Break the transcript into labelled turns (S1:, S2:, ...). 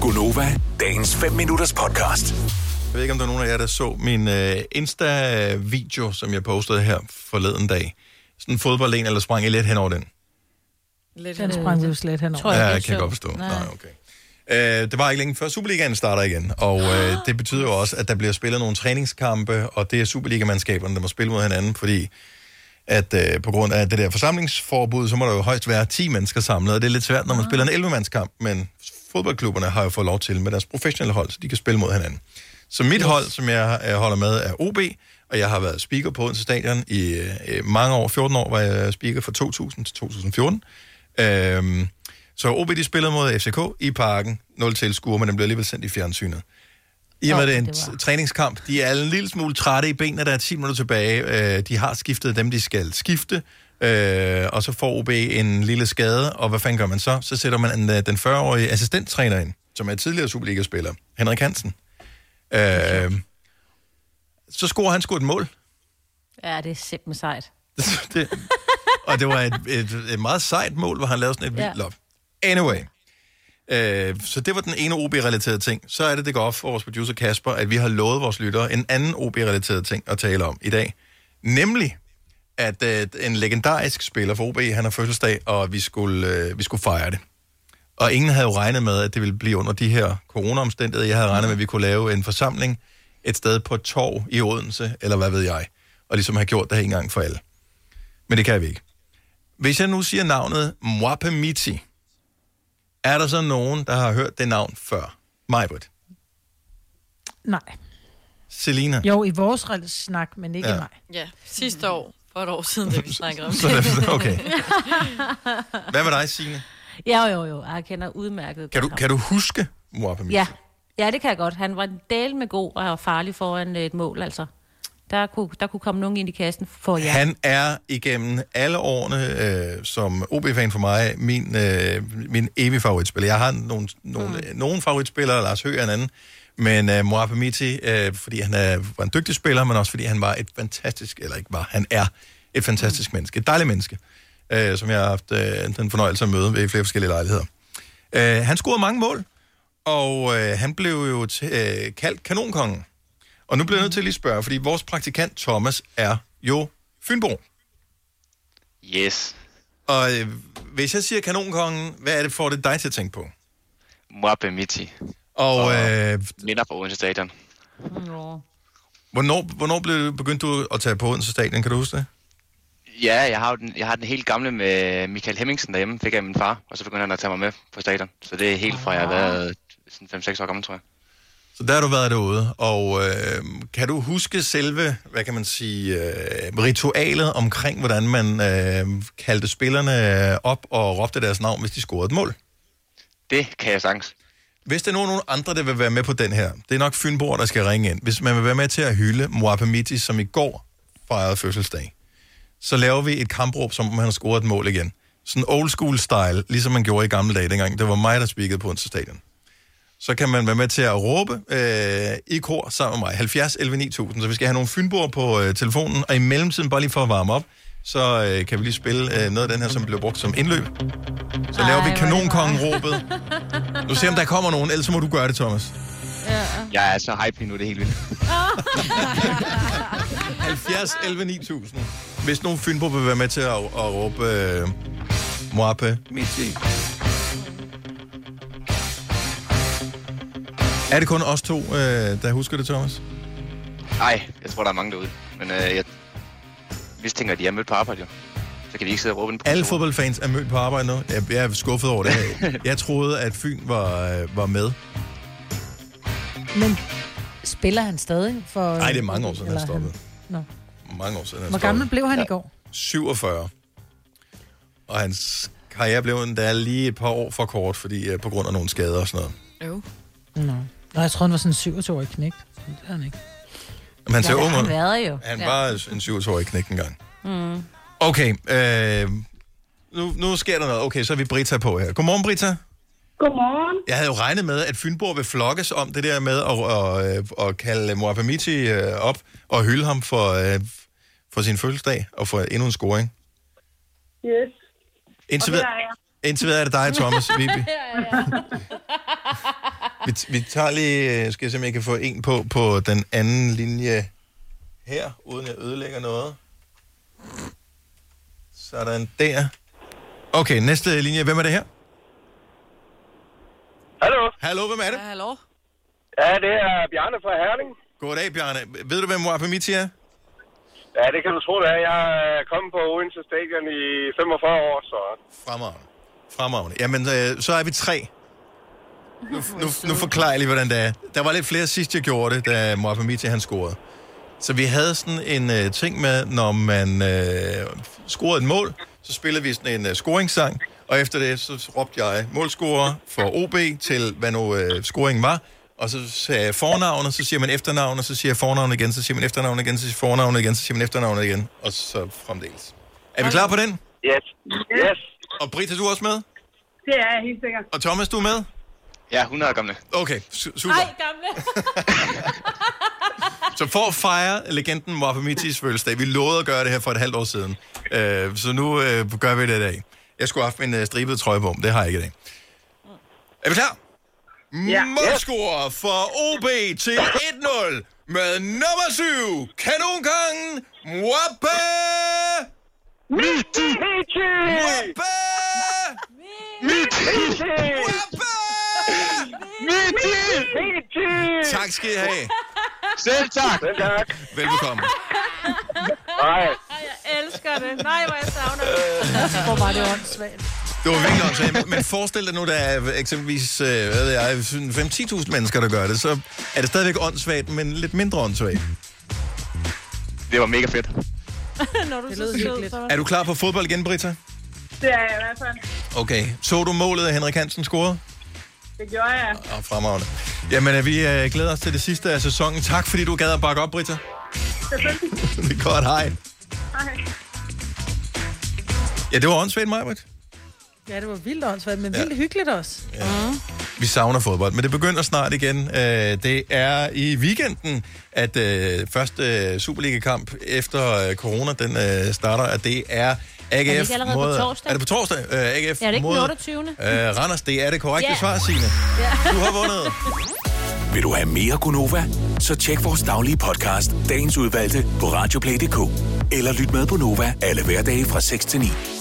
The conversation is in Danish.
S1: Gunova, dagens 5 minutters podcast.
S2: Jeg ved ikke, om der er nogen af jer, der så min øh, Insta-video, som jeg postede her forleden dag. Sådan en fodbold en, eller sprang I lidt hen over den?
S3: Lidt
S4: Den
S3: henover.
S4: sprang vi jo slet henover.
S3: Tror jeg
S2: ja,
S3: ikke,
S2: jeg kan
S3: så.
S2: jeg godt forstå.
S3: Nej.
S2: Nej, Nej okay. Øh, det var ikke længe før Superligaen starter igen, og øh, det betyder jo også, at der bliver spillet nogle træningskampe, og det er Superligamandskaberne, der må spille mod hinanden, fordi at øh, på grund af det der forsamlingsforbud, så må der jo højst være 10 mennesker samlet, og det er lidt svært, når man spiller en 11-mandskamp, men fodboldklubberne har jo fået lov til med deres professionelle hold, så de kan spille mod hinanden. Så mit hold, som jeg øh, holder med, er OB, og jeg har været speaker på Odense Stadion i øh, mange år. 14 år var jeg speaker fra 2000 til 2014. Øhm, så OB, de spillede mod FCK i parken. 0 tilskuere, men den blev alligevel sendt i fjernsynet. I og med,
S4: Åh,
S2: det er en
S4: det var-
S2: t- træningskamp, de er en lille smule trætte i benene, der er 10 minutter tilbage. Øh, de har skiftet dem, de skal skifte. Øh, og så får OB en lille skade, og hvad fanden gør man så? Så sætter man en, øh, den 40-årige assistenttræner ind, som er tidligere Superliga-spiller, Henrik Hansen. Øh, så scorer han sgu et mål.
S3: Ja, det er simpelthen sejt.
S2: det, og det var et, et, et meget sejt mål, hvor han lavede sådan et
S3: Ja.
S2: vildt lop. Anyway. Øh, så det var den ene OB-relaterede ting. Så er det, det går op for vores producer Kasper, at vi har lovet vores lyttere en anden OB-relateret ting at tale om i dag. Nemlig, at øh, en legendarisk spiller for OB, han har fødselsdag, og vi skulle, øh, vi skulle fejre det. Og ingen havde jo regnet med, at det ville blive under de her coronaomstændigheder. Jeg havde regnet med, at vi kunne lave en forsamling et sted på et torv i Odense, eller hvad ved jeg. Og ligesom have gjort det her en gang for alle. Men det kan vi ikke. Hvis jeg nu siger navnet Mwapemiti, er der så nogen, der har hørt det navn før? Majbrit,
S4: Nej.
S2: Selina.
S4: Jo, i vores rel- snak, men ikke
S2: Ja.
S4: ja. mig.
S3: Ja, sidste år, for et år siden, det vi snakkede om.
S2: Så er det- okay. Hvad med dig, Signe?
S3: Ja, jo, jo, jeg kender udmærket.
S2: Kan du,
S3: godt
S2: kan
S3: ham.
S2: du huske Mwapemiti?
S3: Ja. ja, det kan jeg godt. Han var en del med god og farlig foran øh, et mål, altså. Der kunne, der kunne komme nogen ind i kassen for jer.
S2: Han er igennem alle årene øh, som OB-fan for mig min, øh, min evige favoritspiller. Jeg har nogle, nogle, mm. nogle favoritspillere, Lars Høgh er en anden, men øh, Moab Miti, øh, fordi han er, var en dygtig spiller, men også fordi han var et fantastisk, eller ikke var, han er et fantastisk mm. menneske, et dejligt menneske, øh, som jeg har haft øh, den fornøjelse at møde ved flere forskellige lejligheder. Øh, han scorede mange mål, og øh, han blev jo t- øh, kaldt kanonkongen. Og nu bliver jeg nødt til at lige spørge, fordi vores praktikant Thomas er jo Fynbo.
S5: Yes.
S2: Og øh, hvis jeg siger kanonkongen, hvad er det for det dig til at tænke på?
S5: Mwabe Miti.
S2: Og øh,
S5: Minder på Odense Stadion.
S3: Nå.
S2: hvornår, hvornår blev, begyndte du at tage på Odense Stadion, kan du huske det?
S5: Ja, jeg har, jo den, jeg har den helt gamle med Michael Hemmingsen derhjemme, fik jeg af min far, og så begyndte han at tage mig med på stadion. Så det er helt fra, jeg har været sådan 5-6 år gammel, tror jeg.
S2: Så der har du været derude, og øh, kan du huske selve, hvad kan man sige, øh, ritualet omkring, hvordan man øh, kaldte spillerne op og råbte deres navn, hvis de scorede et mål?
S5: Det kan jeg sagtens.
S2: Hvis der nu er nogen andre, der vil være med på den her, det er nok Fynborg, der skal ringe ind. Hvis man vil være med til at hylde Moapamiti, som i går fejrede fødselsdag, så laver vi et kampråb, som om han har scoret et mål igen. Sådan old school style, ligesom man gjorde i gamle dage dengang. Det var mig, der spikede på onsdag stadion. Så kan man være med til at råbe øh, i kor sammen med mig. 70 11 9000. Så vi skal have nogle Fynborg på øh, telefonen. Og i mellemtiden, bare lige for at varme op, så øh, kan vi lige spille øh, noget af den her, som blev brugt som indløb. Så laver vi
S3: Ej, hvor er det
S2: kanonkongen-råbet. Nu se, om der kommer nogen, ellers så må du gøre det, Thomas.
S5: Jeg er så hype lige nu, det er helt vildt.
S2: 70 11 9000. Hvis nogen Fynbo vil være med til at, at råbe øh, Moape Miti. Er det kun os to, øh, der husker det, Thomas?
S5: Nej, jeg tror, der er mange derude. Men øh, jeg mistænker, at de er mødt på arbejde, jo. Så kan de ikke sidde og råbe ind på
S2: Alle
S5: kontoret.
S2: fodboldfans er mødt på arbejde nu. Jeg, jeg er skuffet over det her. Jeg troede, at Fyn var, øh, var med.
S4: Men spiller han stadig? For,
S2: Nej, det er mange år siden, han
S4: eller
S2: stoppede.
S4: Nå.
S2: Mange år siden. han
S4: Hvor
S2: stoppede.
S4: gammel blev han ja. i går?
S2: 47. Og hans karriere blev endda lige et par år for kort, fordi øh, på grund af nogle skader og sådan noget.
S3: Jo.
S4: Nå. Nå, jeg troede, han var sådan en 27-årig knægt. Men Det er han ikke.
S2: Men han ser
S3: Ja, det
S2: ung
S3: har
S2: ud.
S3: han været jo.
S2: Han
S3: ja.
S2: var en 27-årig knæk engang. Mm. Okay, øh, nu, nu sker der noget. Okay, så er vi Brita på her. Godmorgen, Brita.
S6: Godmorgen.
S2: Jeg havde jo regnet med, at Fynborg vil flokkes om det der med at, at, at, at kalde Moapamiti øh, op og hylde ham for, øh, for sin fødselsdag og for endnu en scoring.
S6: Yes. Og
S2: Indtil
S6: her
S2: videre,
S6: er jeg.
S2: indtil videre er det dig, Thomas Viby. Vi, t- vi tager lige, øh, skal jeg se, om jeg kan få en på, på den anden linje her, uden jeg ødelægger noget. Sådan der. Okay, næste linje. Hvem er det her?
S7: Hallo.
S2: Hallo, hvem er det?
S8: Ja, hallo.
S7: Ja, det er Bjarne fra Herning.
S2: Goddag, Bjarne. Ved du, hvem Wapamiti er?
S7: Ja, det kan du tro, det er. Jeg er kommet på Odense Stadion i 45 år, så...
S2: Fremragende. Fremragende. Jamen, øh, så er vi tre. Nu, nu, nu forklarer jeg lige, hvordan det er. Der var lidt flere sidst, jeg gjorde det, da Morfem Mitty, han scorede. Så vi havde sådan en øh, ting med, når man øh, scorede et mål, så spillede vi sådan en øh, scoringssang, og efter det, så råbte jeg målscorer for OB til, hvad nu øh, scoringen var, og så sagde jeg fornavn, og så siger man efternavn, og så siger jeg fornavn igen, så siger man efternavn igen, så siger man fornavn igen, så siger man efternavn igen, og så fremdeles. Er vi klar på den?
S7: Yes. Yes.
S2: Og Britt, er du også med?
S6: Det er jeg helt sikkert.
S2: Og Thomas, du er med?
S5: Ja, 100 gamle.
S2: Okay, su- super.
S3: Nej, gamle.
S2: Så for at fejre legenden Wapamitis fødselsdag, vi lovede at gøre det her for et halvt år siden. Øh, så nu øh, gør vi det i dag. Jeg skulle have haft min øh, stribede trøje på, men det har jeg ikke i dag. Er vi klar? Ja. Målscorer for OB til 1-0 med nummer 7, kanonkongen Mwappe!
S7: Michi! Michi!
S2: Mwappe! Mwappe!
S7: Michi!
S2: Tak skal I have.
S5: Selv tak!
S7: Selv tak.
S2: Velbekomme.
S7: Hej.
S3: Ej, jeg elsker det. Nej, hvor jeg savner det.
S4: Hvor var det åndssvagt.
S2: Det var virkelig åndssvagt. Men forestil dig nu, der er eksempelvis øh, hvad ved jeg, sådan 5-10.000 mennesker, der gør det, så er det stadigvæk åndssvagt, men lidt mindre åndssvagt.
S5: Det var mega fedt.
S3: Når du det
S4: lød
S3: så sød,
S4: hyggeligt.
S3: så
S2: Er du klar på fodbold igen, Britta?
S6: Det er jeg i hvert fald.
S2: Okay. Så du målet, at Henrik Hansen scorede?
S6: Det gjorde jeg.
S2: Og fremragende. Jamen, øh, vi øh, glæder os til det sidste af sæsonen. Tak, fordi du gad at bakke op, Britta.
S6: Selvfølgelig.
S2: Det er godt, hej.
S6: Hej.
S2: Ja, det var åndssvagt, Majbert.
S4: Ja, det var vildt åndssvagt, men vildt hyggeligt også.
S2: Vi savner fodbold, men det begynder snart igen. Øh, Det er i weekenden, at øh, første øh, Superliga-kamp efter øh, corona, den øh, starter, og det er AGF
S3: ikke allerede på
S2: mod...
S3: torsdag?
S2: Er det på torsdag? Øh, AGF
S3: Ja, er det ikke
S2: mod...
S3: den 28.?
S2: Øh, Randers, det er det korrekte
S3: Ja.
S2: svar, Signe. Du har vundet.
S1: Vil du have mere Gunova? Så tjek vores daglige podcast, dagens udvalgte, på radioplay.dk. Eller lyt med på Nova alle hverdage fra 6 til 9.